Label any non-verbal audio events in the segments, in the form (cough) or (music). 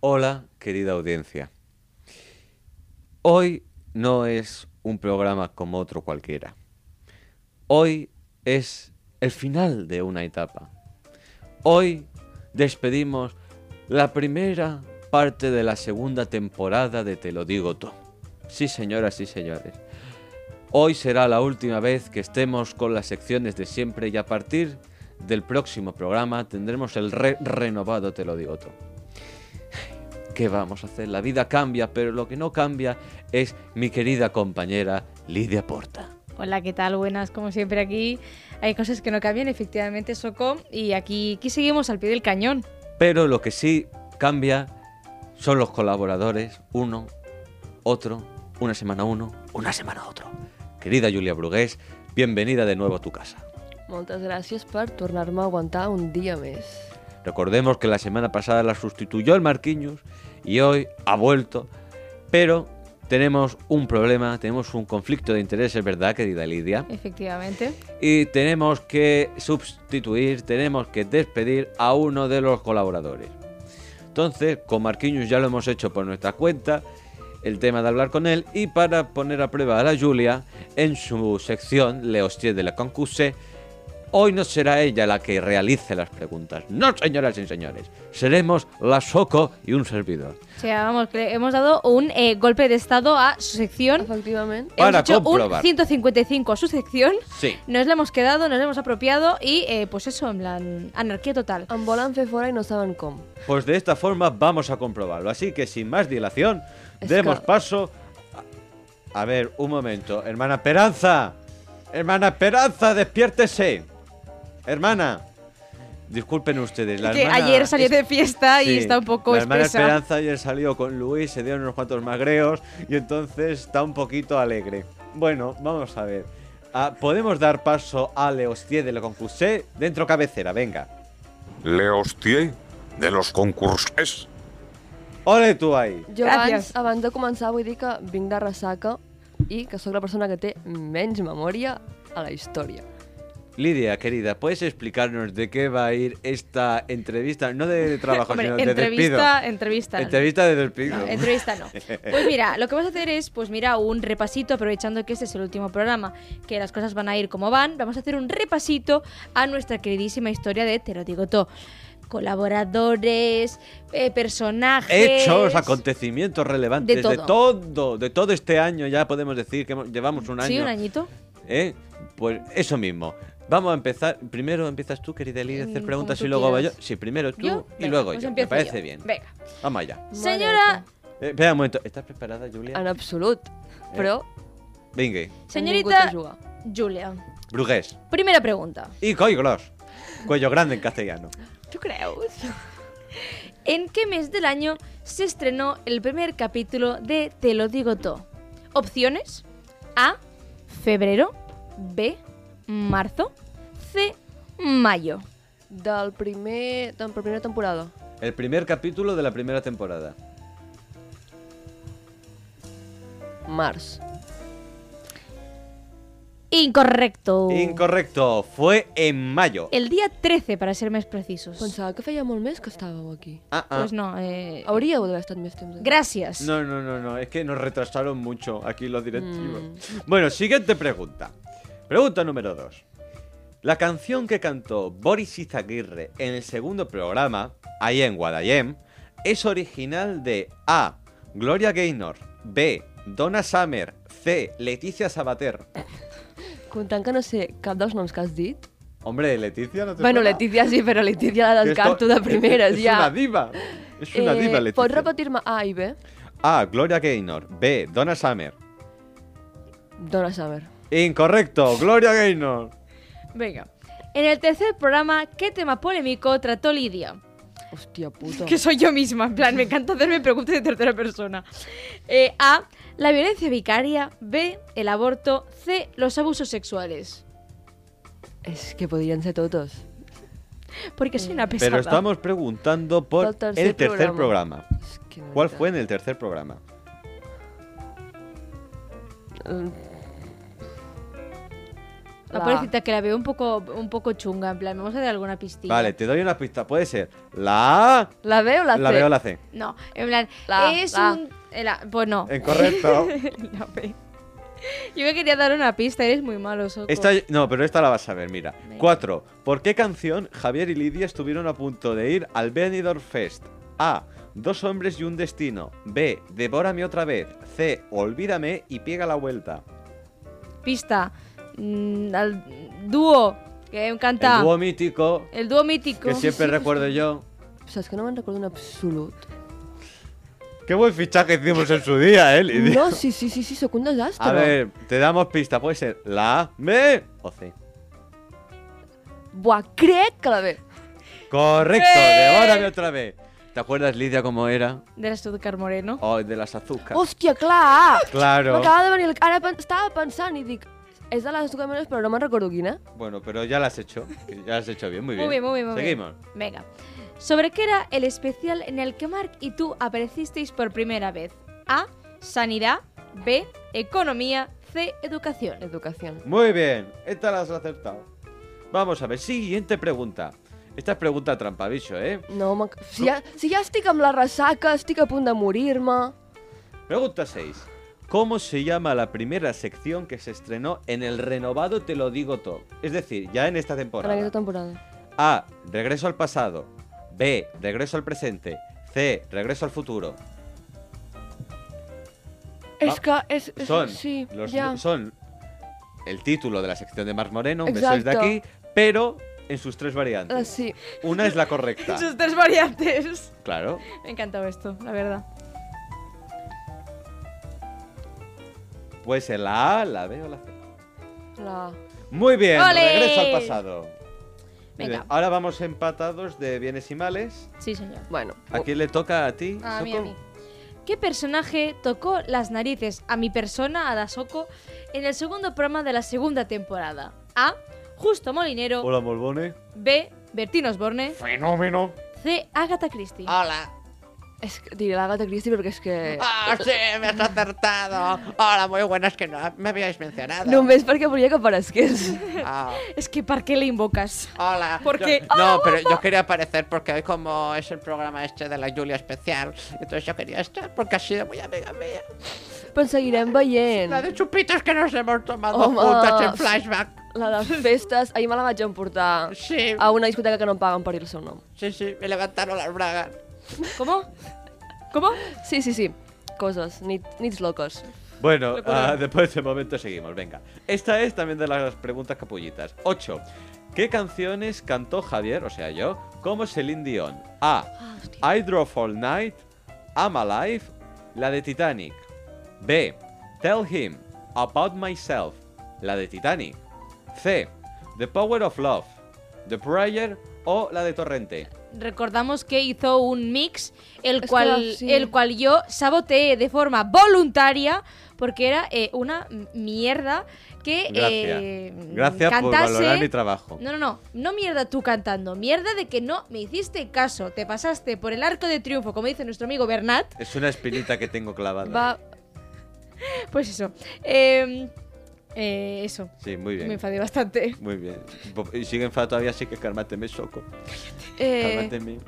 Hola, querida audiencia. Hoy no es un programa como otro cualquiera. Hoy es el final de una etapa. Hoy despedimos la primera parte de la segunda temporada de Te lo digo tú. Sí, señoras y señores. Hoy será la última vez que estemos con las secciones de siempre y a partir del próximo programa tendremos el re- renovado Te lo digo tú. ¿Qué vamos a hacer? La vida cambia, pero lo que no cambia es mi querida compañera Lidia Porta. Hola, ¿qué tal? Buenas, como siempre aquí. Hay cosas que no cambian, efectivamente, Socom. Y aquí, aquí seguimos al pie del cañón. Pero lo que sí cambia son los colaboradores, uno, otro, una semana uno, una semana otro. Querida Julia Brugués, bienvenida de nuevo a tu casa. Moltes gràcies per tornar-me a aguantar un dia més. Recordemos que la semana pasada la sustituyó el Marquinhos y hoy ha vuelto. Pero tenemos un problema, tenemos un conflicto de intereses, ¿verdad, querida Lidia? Efectivamente. y tenemos que sustituir, tenemos que despedir a uno de los colaboradores. Entonces, con Marquinhos ya lo hemos hecho por nuestra cuenta, el tema de hablar con él, y para poner a prueba a la Julia, en su sección Le Hostier de la Concurse, hoy no será ella la que realice las preguntas. No, señoras y señores, seremos la Soco y un servidor. O sea, vamos, que le hemos dado un eh, golpe de estado a su sección. Efectivament, Para hemos hecho comprobar. un 155 a su sección. Sí. Nos la hemos quedado, nos la hemos apropiado y, eh, pues eso, en plan, anarquía total. em volen fer fora i no saben com. Pues de esta forma vamos a comprobarlo. Así que sin más dilación, Es demos que- paso. A... a ver, un momento. Hermana Esperanza. Hermana Esperanza, despiértese. Hermana. Disculpen ustedes. La que hermana- ayer salió de fiesta y Sí, está un poco La hermana espesa. Esperanza ayer salió con Luis, se dieron unos cuantos magreos y entonces está un poquito alegre. Bueno, vamos a ver. Ah, Podemos dar paso a Leostie de la Concursé dentro cabecera, venga. Le hostié de los concursos. Ole tú ahí. Jo abans, Gràcies. abans de començar vull dir que vinc de ressaca i que sóc la persona que té menys memòria a la història. Lidia, querida, ¿puedes explicarnos de qué va a ir esta entrevista? No de trabajo, Hombre, sino de despido. entrevista, entrevista. Entrevista de despido. No, entrevista (laughs) no. Pues mira, lo que vas a hacer es, pues mira, un repasito, aprovechando que este es el último programa, que las cosas van a ir como van, vamos a hacer un repasito a nuestra queridísima historia de Te lo digo todo. Colaboradores, eh, personajes... Hechos, acontecimientos relevantes De de todo. todo. de todo, este año ya podemos decir que hemos- llevamos un año. Sí, un añito. ¿eh? Pues eso mismo. Vamos a empezar. Primero empiezas tú, querida Lidia, a Mm, hacer como preguntas tú y luego va yo. quieras. Sí, primero tú ¿Yo? y Venga, luego pues yo. Me empiezo parece yo. bien. Venga. Vamos allá. Mare Señora, Eh, espera un momento. ¿Estás preparada, Ah, meva, En Julia? absolut, però Venga. hem vingut a señorita jugar. Julia, Brugués. primera pregunta. Y Coy Gross. Cuello grande en castellano. ¿Tú crees? ¿En qué mes del año se estrenó el primer capítulo de Te lo digo todo? Opciones: A. Febrero. B. Marzo. C. Mayo. Del primer, de la primera temporada. El primer capítulo de la primera temporada. Març. Incorrecto. Incorrecto, fue en mayo. el día 13, para ser más precisos. Pensava que feia molt més que estàveu aquí. Ah, ah. Pues no. eh, Hauríeu d'haver estat més temps aquí. Gracias. No, no, no, no, es que nos retrasaron mucho aquí los directivos. Bueno, siguiente pregunta. Pregunta número 2. La canción que cantó Boris Izaguirre en el segundo programa, ahí en Guadayem, es original de A. Gloria Gaynor, B. Donna Summer, C. Leticia Sabater. Comptant que no sé cap dels noms que has dit... Hombre, Leticia no te Bueno, suena? Letizia sí, però Letizia la Que esto- descarto de primeres, es, ja. una diva. Es una Eh, diva, Leticia. Pots repetir-me A i B? A. Gloria Gaynor. B. Donna Summer. Donna Summer. (laughs) Incorrecto, Gloria Gaynor. Venga. En el tercer programa, ¿qué tema polémico trató Lidia? Hostia puta. Que soy yo misma, en plan, me encanta hacerme preguntas de tercera persona. Eh, A. La violencia vicaria. B. El aborto. C. Los abusos sexuales. Es que podrían ser todos. Porque soy una pesada. Pero estamos preguntando por Del tercer el tercer programa. Es que no ¿Cuál me fue en el tercer programa? ca- La La- pobrecita que la veo un poco, un poco chunga, en plan, vamos a dar alguna pistilla. Vale, te doy una pista. Puede ser la A, ¿La veo o la, la, C? B o la C. No, en plan, La, es la. un... eh, la- pues no. (laughs) Incorrecto. (laughs) La B. Yo me quería dar una pista, eres muy malo, Soco. Esta, no, pero esta la vas a ver, mira. Venga. 4. ¿Por qué canción Javier y Lidia estuvieron a punto de ir al Benidorm Fest? A. Dos hombres y un destino. B. Devórame otra vez. C. Olvídame y pega la vuelta. Pista. Mm, al dúo que me encanta. El dúo mítico El dúo mítico. que (laughs) siempre recuerdo yo. O sea, es que no me recuerdo en absoluto. Qué buen fichaje hicimos en su día, eh, Lidia. No, sí, sí, sí, sí, Secunda es astro. A ver, te damos pista. Puede ser la A, B o C. Buah, crec que la ve. Correcto, ¡Sí! devórame otra vez. ¿Te acuerdas, Lidia, cómo era? De la Stuttgart Moreno. Oh, de las azúcares. Hòstia, clar! Claro. M'acaba de venir... El... Ara pen... estava pensant i dic... És de les Tucamenes, però no me'n recordo quina. Bueno, pero ya las has hecho. que Ya las has hecho bien, muy bien. Muy bien, muy bien, muy bien. Seguimos. Venga. ¿Sobre qué era el especial en el que Mark y tú aparecisteis por primera vez? A. Sanidad. B. Economía. C. Educación. Educación. Muy bien. Esta la has acertado. Vamos a ver. Siguiente pregunta. Esta es pregunta trampa, bicho, ¿eh? No, m'ac- si ja, si ja estic amb la ressaca, estic a punt de morir-me... Pregunta 6. ¿Cómo se llama la primera sección que se estrenó en el renovado Te lo digo todo? Es decir, ya en esta En temporada. aquesta temporada. A. Regreso al pasado. B. Regreso al presente. C. Regreso al futuro. És que és... Pues, és Son, sí, Ah. los- ja. son el título de la sección de Mar Moreno, un beso Exacto. desde aquí, pero en sus tres variantes. Ah, Eh, sí. Una es la (laughs) correcta. Sus tres variantes. Claro. Me ha encantado esto, la verdad. Puede ser la A, la B o la C. La... Muy bien, ¡Ole! regreso al pasado. Muy Venga. bien, Ahora vamos empatados de bienes y males. Sí, señor. Bueno. ¿A quién le toca a ti? Oh. A mí, a Soco? mí. ¿Qué personaje tocó las narices a mi persona, a Dasoko, en el segundo programa de la segunda temporada? A. Justo Molinero. Hola, Molbone. B. Bertín Osborne. Fenómeno. C. Agatha Christie. Ah. És que diré l'Agatha Christie perquè és que... (laughs) ¡Ah, sí! ¡Me has acertado! Hola, muy buenas que no me habíais mencionado. Només perquè volia que aparegués. Ah, Es que ¿para qué le invocas? hola. Porque- Yo- no, pero yo quería aparecer porque hoy como es el programa este de la Julia especial, entonces yo quería estar porque ha sido muy amiga mía. Però ens seguirem veient. La de chupitos que nos hemos tomado Home. juntas en flashback. La de festes, ahir me la vaig emportar Sí, a una discoteca que no em paguen per dir el seu nom. sí, sí, me levantaron las bragas. ¿Cómo? ¿Cómo? Sí, sí, sí. Coses, nit, nits locos. Bueno, ah, después de este momento seguimos, venga. Esta es también de las preguntas capullitas. 8. ¿Qué canciones cantó Javier, o sea yo, como Celine Dion? Ah, A. I Drove All Night, I'm Alive, la de Titanic. B. Tell Him, About Myself, la de Titanic. C. The Power of Love, The Prayer o la de Torrente. Recordamos que hizo un mix, el, Es cual, que sí. el cual yo saboteé de forma voluntaria porque era eh, una mierda que Gracias. eh, Gracias cantase... por valorar mi trabajo. No, no, no, no mierda tú cantando, mierda de que no me hiciste caso, te pasaste por el arco de triunfo, como dice nuestro amigo Bernat, Es una espinita que tengo clavada. Va, pues eso, eh, eh, eso, Sí, muy bien. me enfadé bastante. Muy bien. Bo- Y sigue enfadado todavía, así que cálmate, me soco. eh, Cálmate, mi.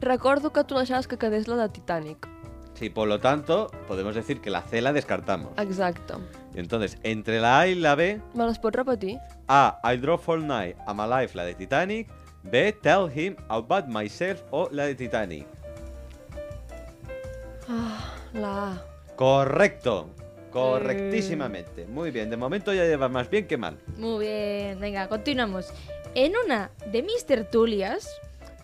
recordo que tu deixaves que quedés la de Titanic. Sí, por lo tanto, podemos decir que la C la descartamos. Exacte. Y Entonces, entre la A y la B, Me les pots repetir? A, I Drove All Night, I'm Alive, la de Titanic, B, Tell Him About Myself o la de Titanic. La A. Correcto. Correctísimamente. Muy bien, de momento ya llevas más bien que mal. Muy bien, venga, continuamos. En una de mis tertulias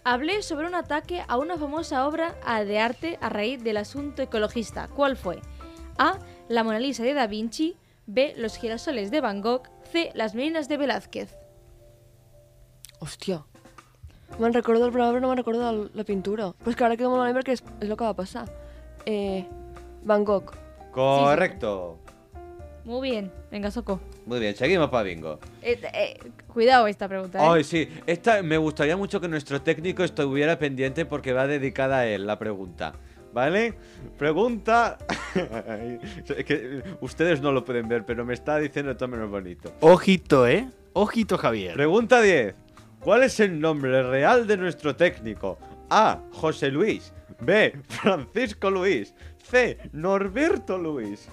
hablé sobre un ataque a una famosa obra a- de arte a raíz del asunto ecologista. ¿Cuál fue? A. La Mona Lisa de Da Vinci. B. Los girasoles de Van Gogh. C. Las meninas de Velázquez. Hòstia. Me'n recordo del programa, però no me'n recordo de la pintura. Però és que ara quedo molt malament perquè és, és el que va passar. Eh, Van Gogh. Correcto. Muy bien. Venga, Soco. Muy bien, seguimos para bingo. Eh, eh, cuidado esta pregunta. ¿eh? Ay, sí. Esta me gustaría mucho que nuestro técnico estuviera pendiente porque va dedicada a él la pregunta. ¿Vale? Pregunta. (laughs) Ay, es que ustedes no lo pueden ver, pero me está diciendo todo menos bonito. Ojito, ¿eh? Ojito, Javier. Pregunta 10. ¿Cuál es el nombre real de nuestro técnico? A. José Luis. B. Francisco Luis. C. Norberto Luis.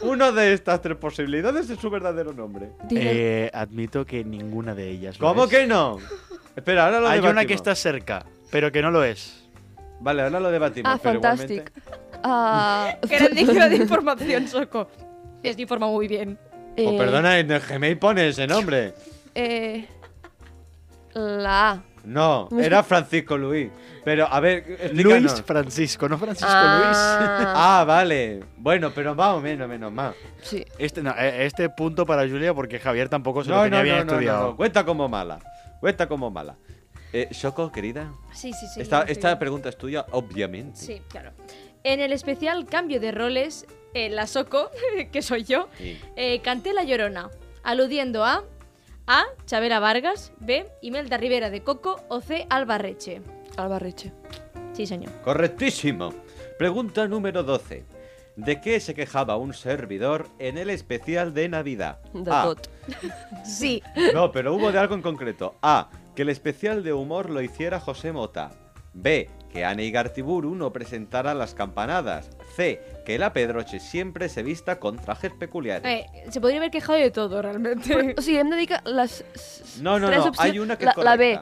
Una de estas tres posibilidades es su verdadero nombre. Dile, Eh, admito que ninguna de ellas. lo ¿Cómo es. que no? Espera, ahora lo Hay debatimos. una que está cerca, pero que no lo es. Vale, ahora lo debatimos. ah, pero Fantastic. igualmente- Ah, (laughs) Grandísima de información, Soco. Les informa muy bien. Pues eh, Oh, perdona, en el Gmail pone ese nombre. Eh, la A. No, era Francisco Luis. Pero, a ver, explícanos. Luis Francisco, no Francisco Ah, Ah, vale. Bueno, pero más o menos, menos más. sí. Luis. Este, no, eh, este punto para Julia porque Javier Pues tampoco se lo tenía bien estudiado. no. Cuenta como mala. Cuenta como mala. Eh, Shoko, querida. Sí, sí, sí. esta estoy esta bien. pregunta es tuya, obviamente. Sí, claro. En el especial Cambio de Roles, eh, la Soco, (laughs) que soy yo, Sí. eh, canté La Llorona, aludiendo a A. Chavera Vargas, B. Imelda Rivera de Coco o C. Alba Reche. Albarreche. (laughs) Sí, señor. Correctísimo. Pregunta número 12. ¿De qué se quejaba un servidor en el especial de Navidad? De A. tot. Sí. No, pero hubo de algo en concreto. A. Que el especial de humor lo hiciera José Mota. B. Que Ana Igartiburu no presentara las campanadas. C. Que la Pedroche siempre se vista con trajes peculiares. Eh, se podría haber quejado de todo, realmente. O sigui, hem de dir que les s- s- No, no, tres no, opcions... hay una que es la, la B.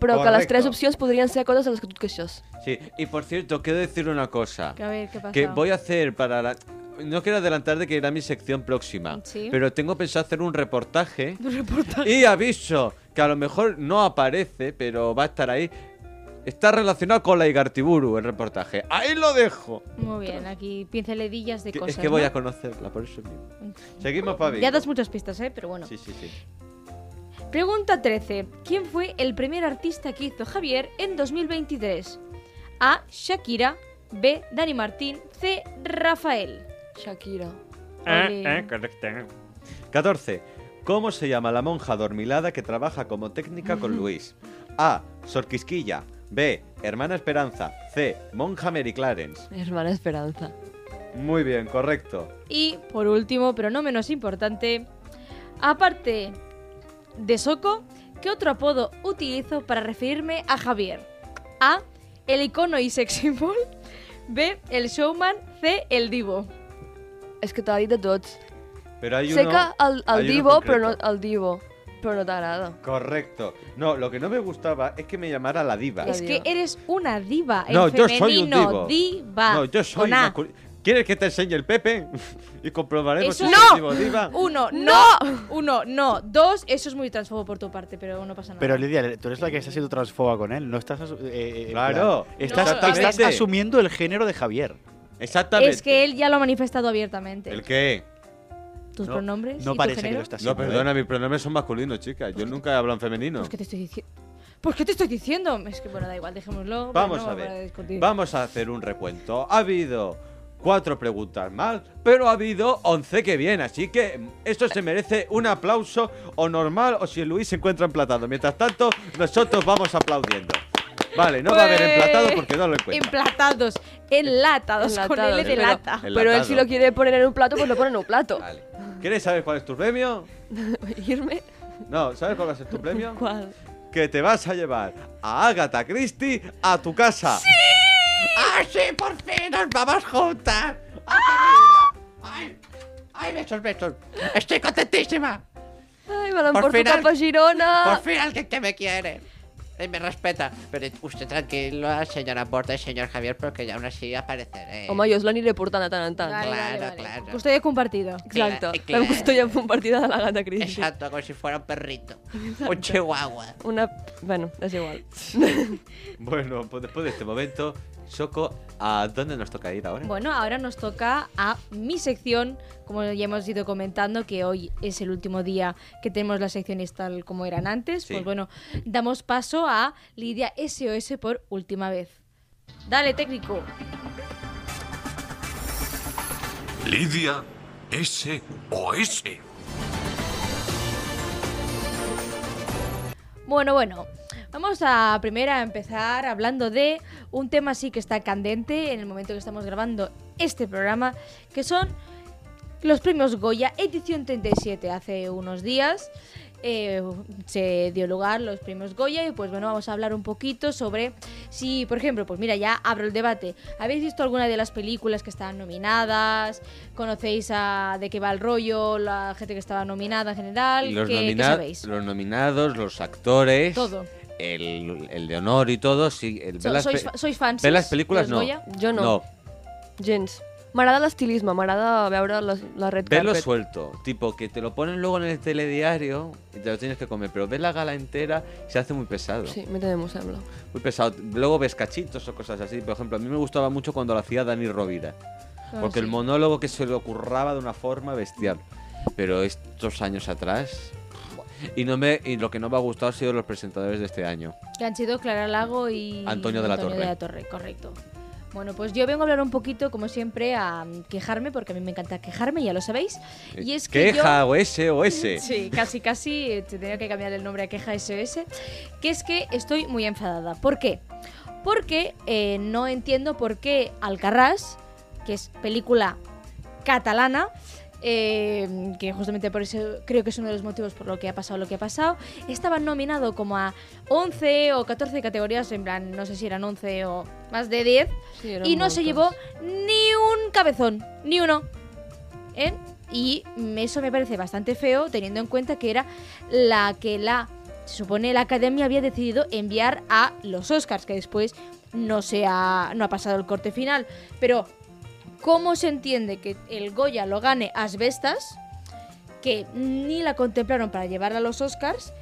Però que les Correcto. tres opcions podrien ser coses de les que tu et queixes. Sí, y por cierto, quiero decir una cosa. (laughs) a ver, ¿qué pasa? Que voy a hacer para la... No quiero adelantar de que irá mi sección próxima. Sí. Pero tengo pensado hacer un reportaje. (laughs) Y aviso, que a lo mejor no aparece, pero va a estar ahí. Está relacionado con la Igartiburu el reportaje. Ahí lo dejo. Muy bien, aquí pinceladillas de Que- cosas. es que voy ¿no? a conocerla, por eso mismo. Seguimos, Pavi. Ya das muchas pistas, ¿eh? Pero bueno. Sí, sí, sí. Pregunta 13. ¿Quién fue el primer artista que hizo Javier en 2023? A. Shakira. B. Dani Martín. C. Rafael. Shakira. Ole. 14. ¿Cómo se llama la monja dormilada que trabaja como técnica con Luis? A. Sorquisquilla. B. Hermana Esperanza. C. Monja Mary Clarence. Hermana Esperanza. Muy bien, correcto. Y por último, pero no menos importante, aparte de Soco, ¿qué otro apodo utilizo para referirme a Javier? A. El icono y sex symbol. B. El showman. C. El divo. És que t'ha dit de tots. Pero hay sé uno- que el, hay el uno Divo, però no, concreto. el Divo, però no t'agrada. Correcto. No, lo que no me gustaba es que me llamara la diva. La Es que diva. eres una diva. En No, yo femenino, soy un divo. diva. no, yo soy Ah, Con A. mascul- ¿Quieres que te enseñe el Pepe? (laughs) y comprobaremos Eso- si ¡No! soy divo o diva. (laughs) Uno, no. Uno, no. Dos, eso es muy transfobo por tu parte, pero no pasa nada. Pero Lidia, tú eres la que está siendo transfoba con él, no estás... asu- eh, eh, en Claro, plan, Estás, exactamente. estás asumiendo el género de Javier. Exactamente. es que él ya lo ha manifestado abiertamente. ¿El qué? ¿Tus No- pronombres? No y tu parece que género? lo estás No, haciendo. ¿eh? perdona, mis pronombres son masculinos, chicas. Yo nunca he hablado en femenino. Pues que te estoy diciendo. Pues que te estoy diciendo. Es que bueno, da igual, dejémoslo. pero Vamos no a para ver. discutir. Vamos a hacer un recuento. Ha habido cuatro preguntas mal, pero ha habido once que bien. Así que mm, esto se merece un aplauso o normal o si Luis se encuentra emplatado. Mientras tanto, nosotros vamos aplaudiendo. Vale, no va a haber Ué. emplatado porque no lo encuentro. Emplatados, enlatados, con Enlatados, L de pero- lata. El Però ell atado. si lo quiere poner en un plato, pues lo pone en un plato. (laughs) Vale. ¿Quieres saber cuál es tu premio? Irme? No, ¿sabes cuál va a ser (laughs) tu premio? Qual? Que te vas a llevar a Agatha Christie a tu casa. ¡Ah, sí, por fin! ¡Nos vamos juntas! ¡Ah, qué vida! ¡Ay! ¡Ay, besos, besos! ¡Estoy contentísima! Ai, me l'emporto Por final- cap a Girona! Por fin alguien que me quiere. Y me respeta. Pero usted tranquilo, señora Borda y señor Javier, porque ya aún así apareceré. Home, jo us l'aniré portant de tant en tant. Vale, vale, claro, vale. claro. Custodia compartida. Eh, Exacte. Clar, clar. Vam custodiar en partida de la gata Cristi. Exacto, como si fuera un perrito. Un chihuahua. Una... Bueno, és igual. Bueno, pues después de este momento, Soco, ¿a dónde nos toca ir ahora? Bueno, ahora nos toca a mi sección, como ya hemos ido comentando, que hoy es el último día que tenemos las secciones tal como eran antes. Sí. Pues bueno, damos paso a Lidia SOS por última vez. Dale, técnico. Lidia S o S. Bueno, bueno. Vamos a primero a empezar hablando de un tema sí que está candente en el momento que estamos grabando este programa, que son los premios Goya edición 37. Hace unos días eh, se dio lugar los premios Goya y pues bueno, vamos a hablar un poquito sobre si, por ejemplo, pues mira, ya abro el debate. ¿Habéis visto alguna de las películas que están nominadas? ¿Conocéis a de qué va el rollo? La gente que estaba nominada en general. los, ¿Qué- qué nomina- sabéis? los nominados, los actores, Todo. El, el de honor y todo, sí. El, So- ve las sois, pe- fa- sois fans ve las películas, dels no. Goya? Jo no. No, Gens. M'agrada l'estilisme, m'agrada veure les, la red verlo carpet. suelto. Tipo, que te lo ponen luego en el telediario y te lo tienes que comer. Pero ves la gala entera, se hace muy pesado. Sí, a mi també m'ho sembla. Muy pesado. Luego ves cachitos o cosas así. Por ejemplo, a mí me gustaba mucho cuando lo hacía Dani Rovira. Claro, porque el Ah, sí. monólogo que se le ocurraba de una forma bestial. Pero estos años atrás. Y, no me, y lo que no me ha gustado ha sido los presentadores de este año. Que han sido Clara Lago y Antonio de la Torre. correcto. Bueno, pues yo vengo a hablar un poquito, como siempre, a mm, quejarme, porque a mí me encanta quejarme, ya lo sabéis. Y es que yo- Eh, Queja o ese o ese. (laughs) Sí, casi, casi eh, te tenía que cambiar el nombre a queja SOS. Que es que estoy muy enfadada. ¿Por qué? Porque eh, no entiendo por qué Alcarrás, que es película catalana, eh, que justamente por eso creo que es uno de los motivos por lo que ha pasado lo que ha pasado, estaba nominado como a 11 o 14 categorías, en plan, no sé si eran 11 o más de 10, Sí, eren y no se moltes. llevó ni un cabezón, ni uno. ¿eh? Y me- eso me parece bastante feo, teniendo en cuenta que era la que la, se supone, la academia había decidido enviar a los Oscars, que después no, se ha, no ha pasado el corte final. Pero, ¿cómo se entiende que el Goya lo gane Asbestas? Que ni la contemplaron para llevarla a los Oscars.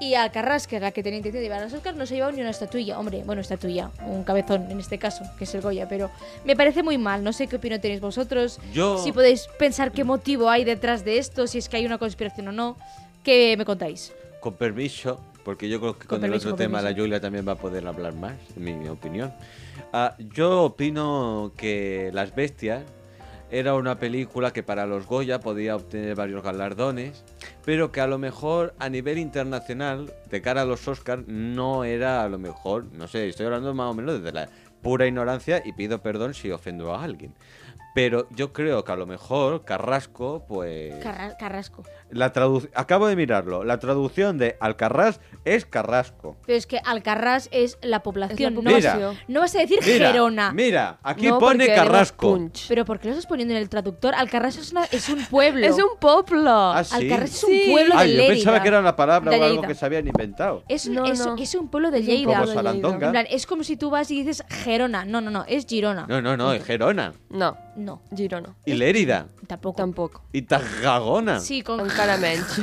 Y Alcarrás, que es la que tenía intención de llevar a los Oscars, no se ha llevado ni una estatuilla. Hombre, bueno, estatuilla, un cabezón en este caso, que es el Goya, pero me parece muy mal. No sé qué opinión tenéis vosotros. Yo- Si podéis pensar qué motivo hay detrás de esto, si es que hay una conspiración o no. ¿Qué me contáis? Con permiso, porque yo creo que con, Con el permiso, otro con tema la permiso. Julia también va a poder hablar más, en mi, mi opinión. Ah, yo opino que Las Bestias era una película que para los Goya podía obtener varios galardones, pero que a lo mejor a nivel internacional, de cara a los Oscars, no era a lo mejor, no sé, estoy hablando más o menos desde la pura ignorancia y pido perdón si ofendo a alguien. Pero yo creo que a lo mejor Carrasco, pues... Carra- Carrasco. La traduc- Acabo de mirarlo. La traducción de Alcarrás es Carrasco. Pero es que Alcarrás es la población. Es no, la vas, población. no vas a decir Mira, Gerona. Mira, aquí No, pone perquè Carrasco. érem punx. Pero ¿por qué lo estás poniendo en el traductor? Alcarrás es, una- es un pueblo. És un poble! Ah, sí. Alcarrás es Sí. un pueblo Ah, de yo Lleida. pensaba que era una palabra o De algo Lleida. que se habían inventado. Es, un- No, es- no. es un pueblo de És un Lleida. Como de Lleida. Sarandonga. En plan, es como si tú vas y dices Gerona. No, no, no, es Girona. No, no, no, es Gerona. No, No, Girona. Y Lérida. tampoco. Tampoc. Y Tarragona. Sí, con Encara (laughs) menys.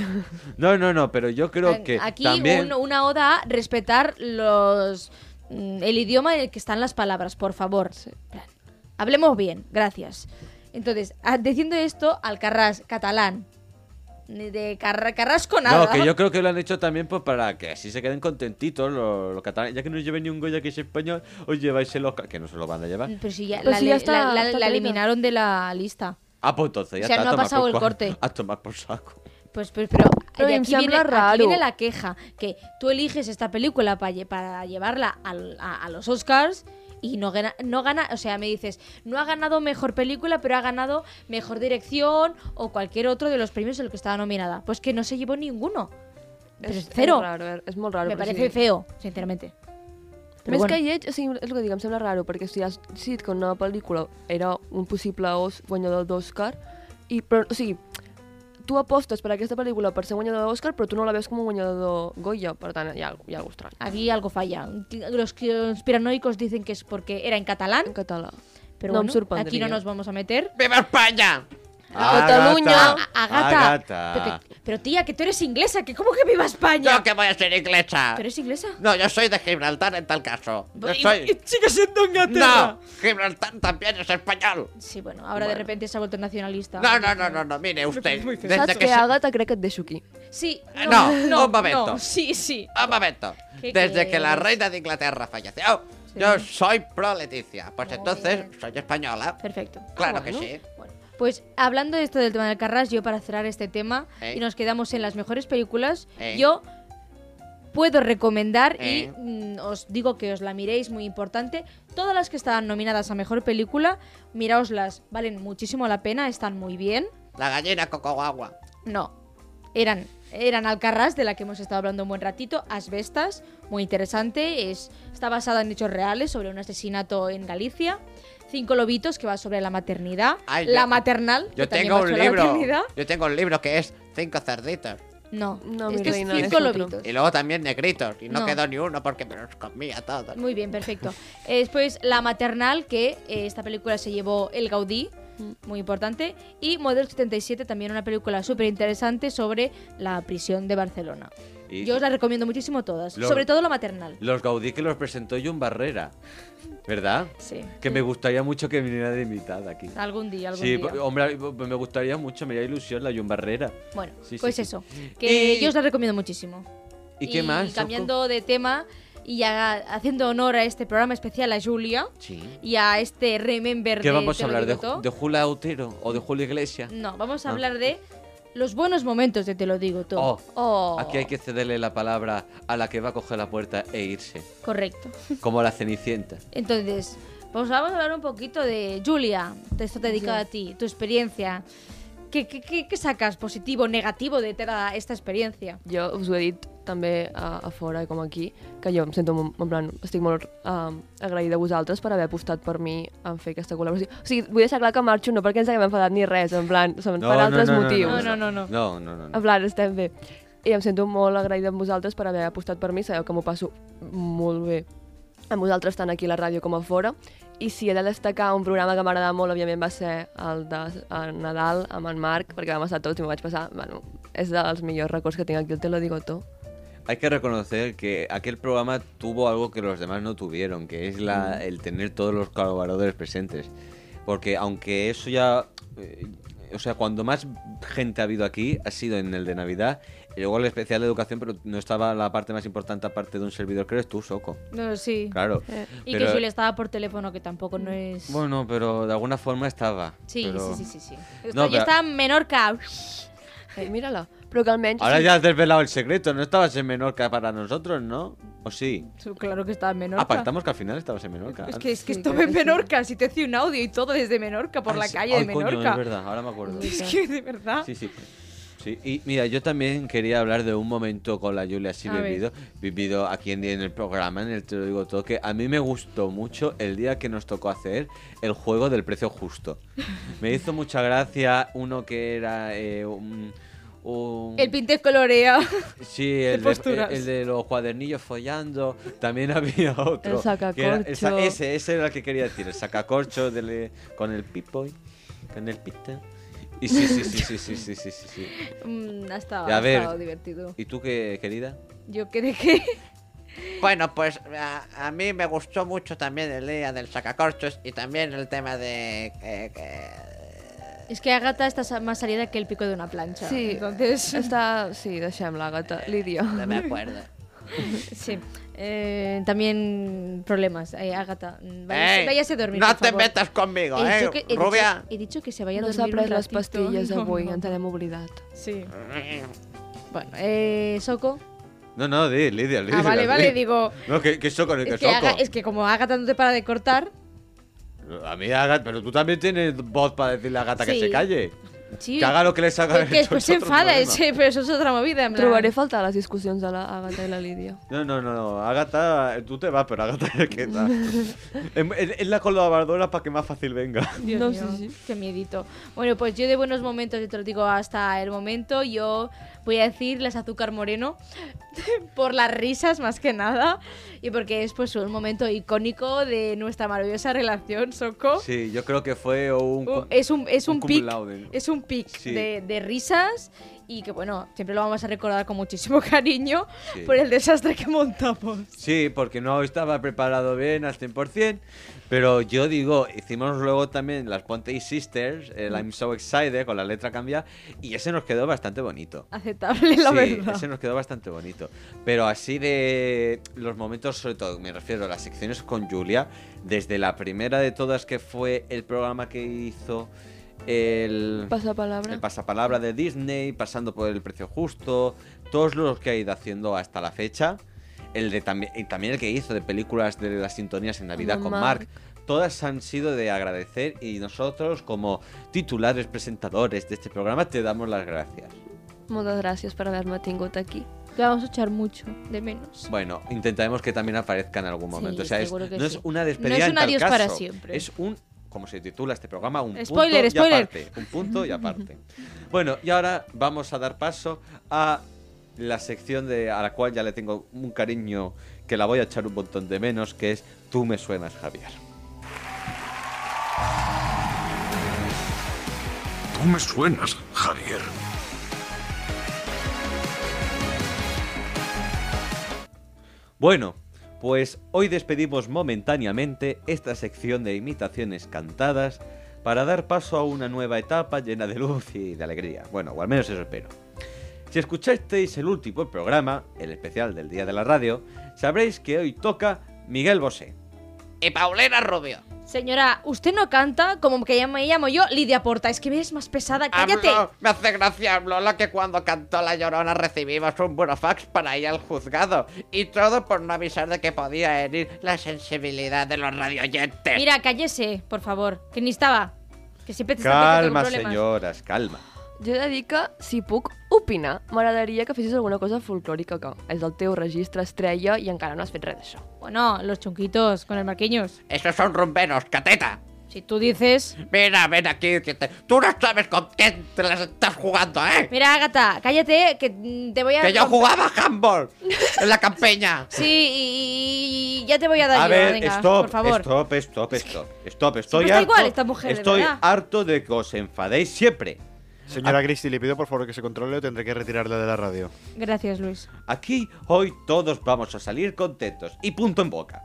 No, no, no, pero yo creo que Aquí también... un- una oda a respetar los mm, el idioma en el que están las palabras, por favor. Plan, Hablemos bien, gracias. Entonces, a- diciendo esto, Alcarrás, catalán. Ni De Carra- Carrasco nada. No, que yo creo que lo han hecho también pues para que así se queden contentitos los, los catalanes. Ya que no lleven ni un Goya que es español, os lleváis el Oscar, que no se lo van a llevar. Pero si ya, Pues la, si ya le- está- la- la- está la traído. eliminaron de la lista. Ah, pues entonces ya O sea, está, no a ha tomar pasado por el cua- corte. (laughs) A tomar por saco. Pues, pues, pero, Pero de me aquí, sembla viene, aquí raro. viene la queja, que tú eliges esta película pa lle- para llevarla al- a, a los Oscars y no gana, no gana, o sea, me dices, no ha ganado mejor película, pero ha ganado mejor dirección o cualquier otro de los premios en el que estaba nominada. Pues que no se llevó ninguno. Pero És, cero. És, raro, eh? és molt raro. me però parece sí. feo, sinceramente. Pero Més bueno. que lleig, o sigui, és el que dic, em sembla raro, perquè si has decidit que una pel·lícula era un possible os guanyador d'Oscar, i, però, o sigui, tu apostes per aquesta pel·lícula per ser guanyador d'Oscar, però tu no la veus com un guanyador Goya, per tant, hi ha, algo- hi ha alguna cosa estrany. Aquí algo falla. Los conspiranoicos dicen que es porque era en catalán, En català. pero no em bueno, sorprendria. aquí no nos vamos a meter. ¡Viva España! A Cataluña. Agata. Ah, Agata. Pero, que- pero, tía, que tú eres inglesa, que cómo que viva España. Yo que voy a ser inglesa. ¿Tú eres inglesa? No, yo soy de Gibraltar en tal caso. Yo Y- y soy. sigue siendo Inglaterra. No, Gibraltar también es español. Sí, bueno, ahora de repente se ha vuelto nacionalista. No, no, no, no, no. Mire usted. Saps Desde que que se... Agatha crec que et deixo aquí. Sí, Eh, no, no, no, un momento. no, sí, sí. Un momento. ¿Qué Desde que la quieres? reina de Inglaterra falleció, Sí. yo soy pro Leticia. Pues Muy entonces bien. soy española. Perfecto. Claro Ah, que bueno. sí. Bueno, pues hablando de esto del tema del Carras, yo para cerrar este tema Eh. y nos quedamos en las mejores películas, Eh. yo puedo recomendar Eh. y mm, os digo que os la miréis, muy importante. Todas las que estaban nominadas a mejor película, miraoslas, valen muchísimo la pena, están muy bien. La gallina coco guagua. No, eran, eran Alcarrás, de la que hemos estado hablando un buen ratito, Asbestas, muy interesante, es, está basada en hechos reales sobre un asesinato en Galicia, Cinco Lobitos, que va sobre la maternidad, Ay, La yo- Maternal, que Yo también tengo va un sobre la libro. maternidad. Yo tengo un libro que es Cinco cerditos. No, No, mi este es reina, Cinco es otro. Lobitos. Y luego también negritos. Y no, No. quedó ni uno porque me los comía todos. Muy bien, perfecto. Eh, después, La Maternal, que eh, esta película se llevó el Gaudí, Mm. muy importante. Y Model 77, también una película súper interesante sobre la prisión de Barcelona. Y- Yo os la recomiendo muchísimo todas, Lo- sobre todo La Maternal. Los Gaudí que los presentó John Barrera, ¿verdad? Sí. Que me gustaría mucho que viniera de invitada aquí. Algún día, algún Sí, día. po- hombre, po- me gustaría mucho, me da ilusión la John Barrera. Bueno, Sí, sí, pues sí. eso. Que Y- yo os la recomiendo muchísimo. ¿Y, qué más? cambiando de tema y ya haciendo honor a este programa especial a Julia Sí. y a este Remember ¿Qué de vamos Te a lo hablar? ¿De, digo todo. de Julio Autero o de Julio Iglesias? No, vamos a Ah. hablar de los buenos momentos de Te lo digo todo. Oh, Oh, Aquí hay que cederle la palabra a la que va a coger la puerta e irse, Correcto. como la Cenicienta. Entonces, pues vamos a hablar un poquito de Julia. de Esto te dedicado a ti, tu experiencia. ¿Qué, qué, qué- qué sacas positivo, negativo de toda esta experiencia? Jo us ho he dit també a, a fora com aquí, que jo em sento, mo- en plan, estic molt um, agraïda a vosaltres per haver apostat per mi en fer aquesta col·laboració. O sigui, vull deixar clar que marxo no perquè ens haguem enfadat ni res, en plan, són per altres motius. no, no. no. No, no, no, no. En plan, estem bé. I em sento molt agraïda amb vosaltres per haver apostat per mi, sabeu que m'ho passo molt bé amb vosaltres tant aquí a la ràdio com a fora. I si he de destacar un programa que m'agradava molt, òbviament va ser el de el Nadal amb en Marc, perquè vam estar tots i m'ho vaig passar. Bueno, és dels millors records que tinc aquí, el Te lo digo todo. Hay que reconocer que aquel programa tuvo algo que los demás no tuvieron, que es Mm. la, el tener todos los colaboradores presentes. Porque aunque eso ya... eh, o sea, cuando más gente ha habido aquí ha sido en el de Navidad y luego el especial de educación, pero no estaba la parte más importante aparte de un servidor que eres tú, Soco. No, sí. Claro. Eh, Y Pero- que Julia estaba por teléfono, que tampoco no es... Bueno, pero de alguna forma estaba. Sí, pero- sí, sí, sí, sí. No, yo pero- estaba en Menorca. Ei, mira-la. Però que almenys... Ahora ya has desvelado el secreto, no estabas en Menorca para nosotros, ¿no? ¿O sí? Claro que estaba en Menorca. Ah, pactamos que al final estabas en Menorca. Es que, es que Sí, estuve creo en que sí. Menorca, si te hice un audio y todo desde Menorca, por Ay, la sí. calle de Ay, coño, Menorca. es verdad, ahora me acuerdo. Es que de verdad. Sí, sí. Sí, y mira, yo también quería hablar de un momento con la Julia así A ver. vivido, vivido aquí en, en el programa, en el Te lo digo todo, que a mí me gustó mucho el día que nos tocó hacer el juego del precio justo. Me hizo mucha gracia uno que era eh, un... un- El Pintes colorea. Sí, de el de, posturas. el de los cuadernillos follando. También (laughs) había otro. El sacacorcho. que era- el sa- ese, ese era el que quería decir. El sacacorcho del- eh, con el pipoy, con el pita. Y sí, sí, sí, sí, sí, sí, sí, sí, sí. Mm, ha estado, Y a ha ver. estado divertido. ¿Y tú qué, querida? Yo que (laughs) dejé. Bueno, pues a, a mí me gustó mucho también el día del sacacorchos y también el tema de... eh, eh, Es que Agatha está sa- más salida que el pico de una plancha. Sí, Entonces. Està... Sí, deixem-la, gata. Lídia. no me acuerdo. (laughs) Sí. Eh, también problemas. Eh, Agatha, mm, váyase, Ey, váyase a dormir. No por te favor. metas conmigo, He ¿eh? dicho que- he dicho- Rubia. he dicho que se vaya a No dormir. s'ha un pres les ratito. pastilles No, avui, no. ens n'hem oblidat. (laughs) Sí. Bueno, eh, Soco. No, no, di, Lidia, Lidia. Ah, vale, di. vale, digo. No, que, este que soco, que Es que, soco. Aga- es que como Agatha no te para de cortar. A mí, Agatha, pero tú también tienes voz para decirle a Gata que Sí. se calle. Sí. Que haga lo que le salga. (laughs) Es que después se enfada, ese, pero eso es otra movida. En plan. Trobaré a faltar les discussions de la Agatha i la Lídia. No, no, no, no. Agatha, eh, tú te vas, pero Agatha se queda. (laughs) es, es- es la colaboradora para que más fácil venga. Dios No, mío, sí, sí. Qué miedito. Bueno, pues yo de buenos momentos, yo te lo digo hasta el momento, yo voy a decir las Azúcar Moreno (laughs) por las risas más que nada y porque es pues un momento icónico de nuestra maravillosa relación, Soco. Sí, yo creo que fue un. Uh, cum- ¿Oh? es un, es un, cum pic, laude. es un pic Sí. de, de risas y que bueno, siempre lo vamos a recordar con muchísimo (laughs) cariño Sí. por el desastre que montamos. Sí, porque no estaba preparado bien al 100%, pero yo digo, hicimos luego también las Ponte Sisters, Mm. el I'm So Excited, con la letra cambiada, y ese nos quedó bastante bonito. (laughs) Aceptable, la sí, verdad. ese nos quedó bastante bonito. Pero así de los momentos, sobre todo, me refiero a las secciones con Julia, desde la primera de todas que fue el programa que hizo el... Pasapalabra. El pasapalabra de Disney, pasando por el precio justo, todos los que ha ido haciendo hasta la fecha. El de también, y también el que hizo de películas de las sintonías en Navidad Como con Mark. Mark. Todas han sido de agradecer y nosotros, como titulares presentadores de este programa, te damos las gracias. Muchas gracias por haberme tenido aquí. Te vamos a echar mucho de menos. Bueno, intentaremos que también aparezca en algún momento. Sí, o sea, es- seguro que no es sí. una despedida. No es en un tal adiós para caso. siempre. Es un, como se titula este programa, un Spoiler, punto spoiler. y aparte. Un punto y aparte. bueno, y ahora vamos a dar paso a la sección de, a la cual ya le tengo un cariño que la voy a echar un montón de menos, que es Tú me suenas, Javier. Tú me suenas, Javier. Bueno, pues hoy despedimos momentáneamente esta sección de imitaciones cantadas para dar paso a una nueva etapa llena de luz y de alegría. Bueno, o al menos eso espero. Si escuchasteis el último programa, el especial del Día de la Radio, sabréis que hoy toca Miguel Bosé. Y Paulina Rubio. Señora, usted no canta como que ya me llamo yo Lidia Porta. Es que eres más pesada, Ah, cállate. Habló- me hace gracia, habló la que cuando cantó La Llorona recibimos un burofax para ir al juzgado. Y todo por no avisar de que podía herir la sensibilidad de los radioyentes. Mira, cállese, por favor. Que ni estaba. Que siempre te está metiendo con Calma, problemas. señoras, calma. Jo he de dir que, si puc opinar, m'agradaria que fessis alguna cosa folclòrica, que és el teu registre estrella i encara no has fet res d'això. Bueno, los chunquitos con el marqueños. Esos son rumberos, cateta. Si tú dices. Mira, ven aquí. Que te... Tú no sabes con quién te las estás jugando, ¿eh? Mira, Agatha, cállate, que mm, te voy a. Que yo jugaba (laughs) handball en la campeña. Sí, y, y- y ya te voy a dar A yo, ver, venga, stop, por favor. stop, stop, stop, stop. Estoy está harto, igual esta mujer, de estoy verdad. harto de que os enfadéis siempre. Señora Cristi, le pido por favor que se controle o tendré que retirarla de la radio. Gracias, Luis. Aquí hoy todos vamos a salir contentos y punto en boca.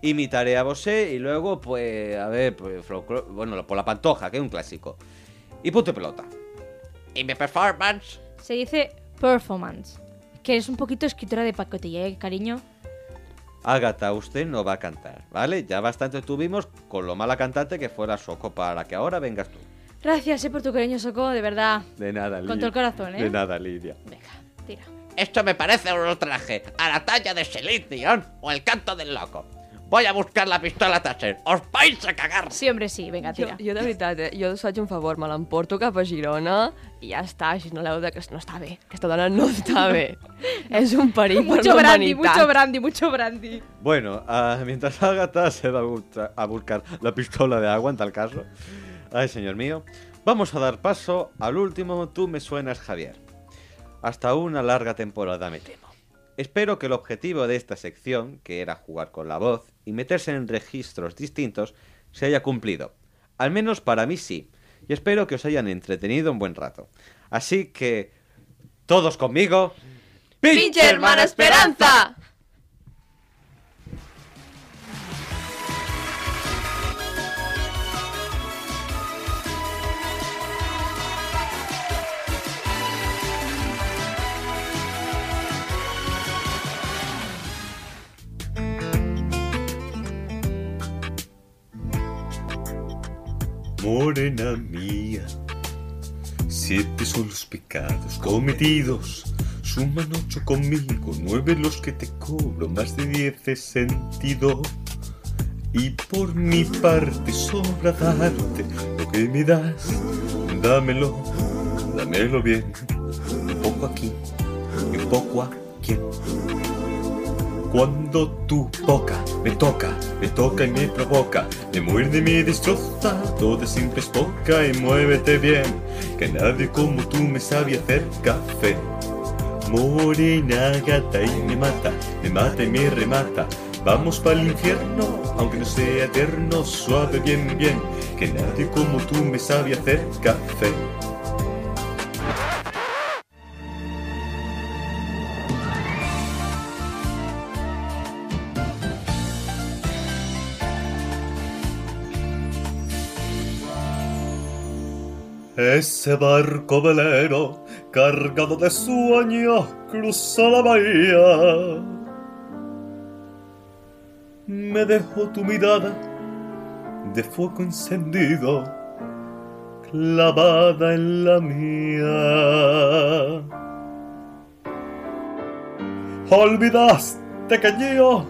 Imitaré a Bosé y luego, pues, a ver, pues, folclo- bueno, por la pantoja, que es un clásico. Y punto y pelota. Y mi performance. Se dice performance. Que eres un poquito escritora de pacotilla, ¿eh, cariño? Ágata, usted no va a cantar, ¿vale? Ya bastante tuvimos con lo mala cantante que fuera Soco para que ahora vengas tú. Gracias, eh, por tu cariño, Soco, de verdad. De nada, Lidia. Con todo el corazón, ¿eh? De nada, Lidia. Venga, tira. Esto me parece un ultraje a la talla de Celine Dion o el canto del loco. Voy a buscar la pistola Taser. ¡Os vais a cagar! Sí, hombre, sí, venga, Jo, tira. jo de veritat, eh? jo us faig un favor, me l'emporto cap a Girona i ja està, així no l'heu de... que no està bé, aquesta dona no (laughs) està bé. És un perill per Mucho la brandy, mucho humanitat. brandy, mucho brandy. Bueno, ah, mientras Agatha se va a busca- a buscar la pistola de agua, en tal caso. Ay, señor mío. Vamos a dar paso al último Tú me suenas, Javier. Hasta una larga temporada, me temo. Espero que el objetivo de esta sección, que era jugar con la voz y meterse en registros distintos, se haya cumplido. Al menos para mí sí. Y espero que os hayan entretenido un buen rato. Así que... Todos conmigo. Pinche hermana Esperanza! Morena mía, siete son los pecados cometidos. Suman ocho conmigo, nueve los que te cobro, más de diez es sentido. Y por mi parte sobra darte lo que me das. Dámelo, dámelo bien. Un poco aquí y un poco aquí. Cuando tu boca me toca, me toca y me provoca, me muerde y me destroza, todo siempre es poca y muévete bien, que nadie como tú me sabe hacer café. Morena gata y me mata, me mata y me remata. Vamos para el infierno, aunque no sea eterno, suave, bien, bien, que nadie como tú me sabe hacer café. Ese barco velero, cargado de sueños, cruzó la bahía. Me dejó tu mirada de fuego encendido, clavada en la mía. Olvidaste que yo,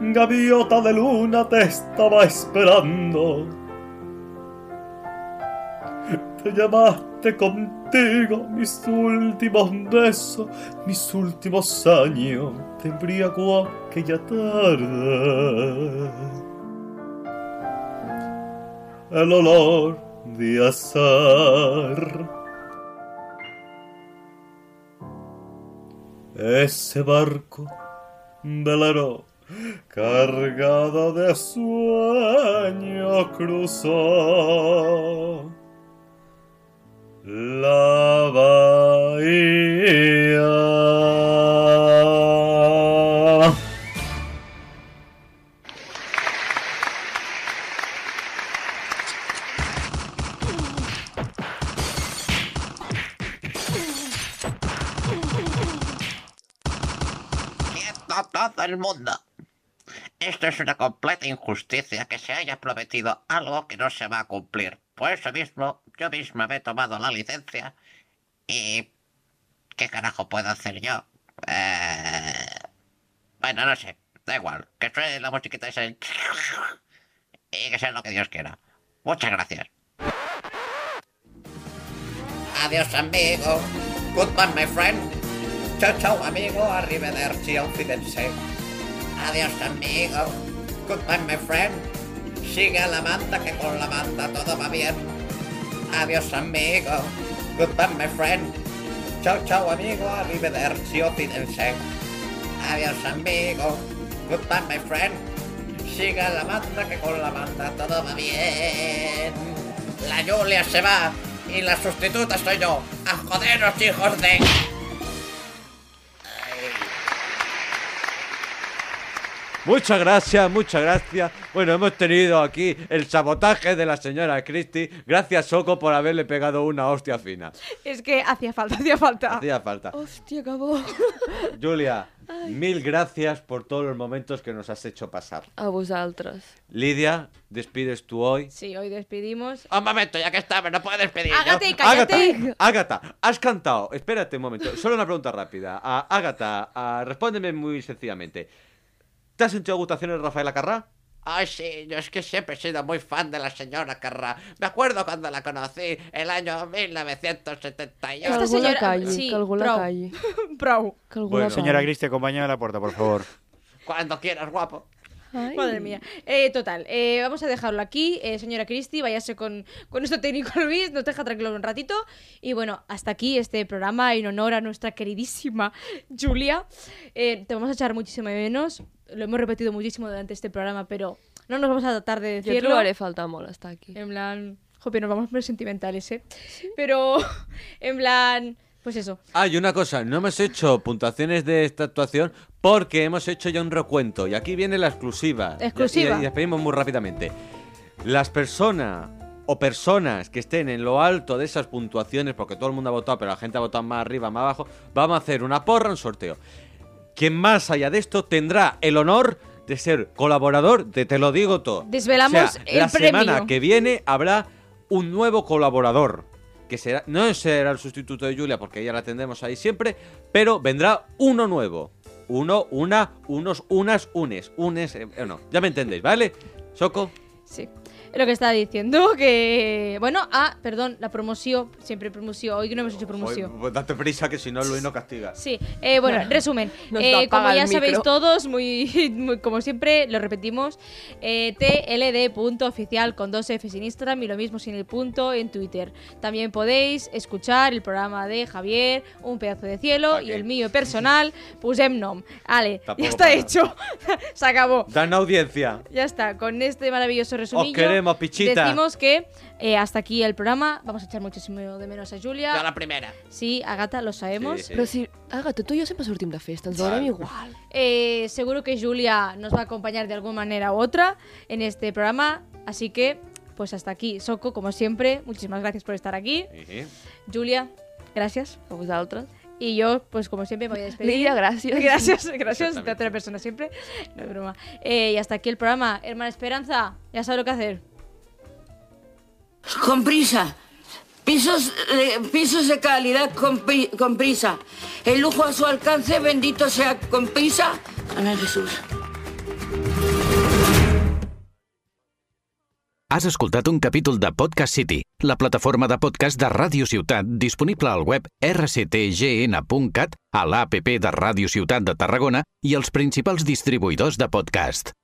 gaviota de luna, te estaba esperando. Te llamaste contigo mis últimos besos, mis últimos años. Te embriagó aquella tarde. El olor de azar. Ese barco velero cargado de sueño cruzó la bahía. ¡Quieto todo el mundo! Esto es una completa injusticia que se haya prometido algo que no se va a cumplir. Por eso mismo, yo misma me he tomado la licencia y... ¿Qué carajo puedo hacer yo? Eh, Bueno, no sé, da igual. Que suene la musiquita esa y y que sea lo que Dios quiera. Muchas gracias. Adiós, amigo. Goodbye, my friend. Chao, chao, amigo. Arrivederci, auf Wiedersehen. Adiós, amigo. Goodbye, my friend. Sigue a la banda, que con la banda todo va bien. Adiós, amigo. Goodbye, my friend. Chao, chao, amigo. Arrivederci, auf Wiedersehen. Adiós, amigo. Goodbye, my friend. Sigue a la banda, que con la banda todo va bien. La Julia se va y la sustituta soy yo. ¡A joderos, hijos de... Muchas gracias, muchas gracias. Bueno, hemos tenido aquí el sabotaje de la señora Christie. Gracias, Soco, por haberle pegado una hostia fina. Es que hacía falta, hacía falta. Hacía falta. Ah, Hostia, acabó. (laughs) Julia, mil gracias por todos los momentos que nos has hecho pasar. A vosaltres. Lidia, despides tú hoy. Sí, hoy despedimos. Ah. Un momento, ya que estaba, no puedes pedir. Ágate y cállate. Ágata, Ágata, has cantado. Espérate un momento. Solo una pregunta rápida. A Ágata, a- respóndeme muy sencillamente. ¿Te has hecho gustaciones Rafael Acarrá? Ay, sí, yo es que siempre he sido muy fan de la señora Carrá. Me acuerdo cuando la conocí, el año 1978. Calgó señora- la calle, sí, calgó la prou. calle. Bravo. Calgó Bueno. la Señora calle. Cristi, acompáñame a la puerta, por favor. Cuando quieras, guapo. Ay. Madre mía. Eh, total, eh, vamos a dejarlo aquí. Eh, señora Cristi, váyase con, con nuestro técnico (laughs) Luis, nos deja tranquilo un ratito. Y bueno, hasta aquí este programa en honor a nuestra queridísima (laughs) Julia. Eh, te vamos a echar muchísimo de menos. Lo hemos repetido muchísimo durante este programa, pero no nos vamos a tratar de Jo decirlo. trobaré falta molt estar aquí. En plan, jope, nos vamos muy sentimentales, ¿eh? Pero, (laughs) en plan, pues eso. Ah, y una cosa, no hemos hecho puntuaciones de esta actuación porque hemos hecho ya un recuento. Y aquí viene la exclusiva. Exclusiva. Y, y despedimos muy rápidamente. Las personas o personas que estén en lo alto de esas puntuaciones, porque todo el mundo ha votado, pero la gente ha votado más arriba, más abajo, vamos a hacer una porra, un sorteo. Quien más allá de esto tendrá el honor de ser colaborador de Te lo digo todo. Desvelamos O sea, el la semana premio. que viene habrá un nuevo colaborador. Que será, no será el sustituto de Julia, porque ella la tendremos ahí siempre, pero vendrá uno nuevo. Uno, una, unos, unas, unes. Unes, eh, no, ya me entendéis, ¿vale? Soco, Sí. lo que estaba diciendo, que... Bueno, ah, perdón, la promoció, siempre promoció, hoy que no hemos hecho promoción. Joder, pues date prisa que si no, Luis no castiga. Sí, eh, bueno, resumen. (laughs) Nos Eh, apaga como el ya sabéis micro. todos, muy, (laughs) muy- como siempre, lo repetimos, eh, tld.oficial con dos Fs en Instagram y lo mismo sin el punto en Twitter. También podéis escuchar el programa de Javier, Un pedazo de cielo ¿Pa' y qué? el mío personal, Pusem Nom. Ale, Tampoco ya está para. hecho. (laughs) Se acabó. Dan audiencia. Ya está, con este maravilloso resumillo. queremos, pichita. Decimos que eh, hasta aquí el programa. Vamos a echar muchísimo de menos a Julia. Ya la primera. Sí, Agata, lo sabemos. Sí. Però si... Agatha, tu i jo sempre sortim de festa, ens veurem igual. Eh, seguro que Julia nos va a acompañar de alguna manera u otra en este programa. Así que, pues hasta aquí. Soco, como siempre, muchísimas gracias por estar aquí. Sí. Julia, gracias. A vosaltres. Y yo, pues como siempre, me voy a despedir. Lídia, gràcies. Gracias, gracias. De otra persona siempre. No es broma. Eh, y hasta aquí el programa. Hermana Esperanza, ya sabes lo que hacer. Con prisa. Pisos, eh, pisos de calidad con, pi- con prisa. El lujo a su alcance, bendito sea con prisa. Ana Jesús. Has escoltat un capítol de Podcast City, la plataforma de podcast de Ràdio Ciutat disponible al web rctgn.cat, a l'APP de Ràdio Ciutat de Tarragona i els principals distribuïdors de podcast.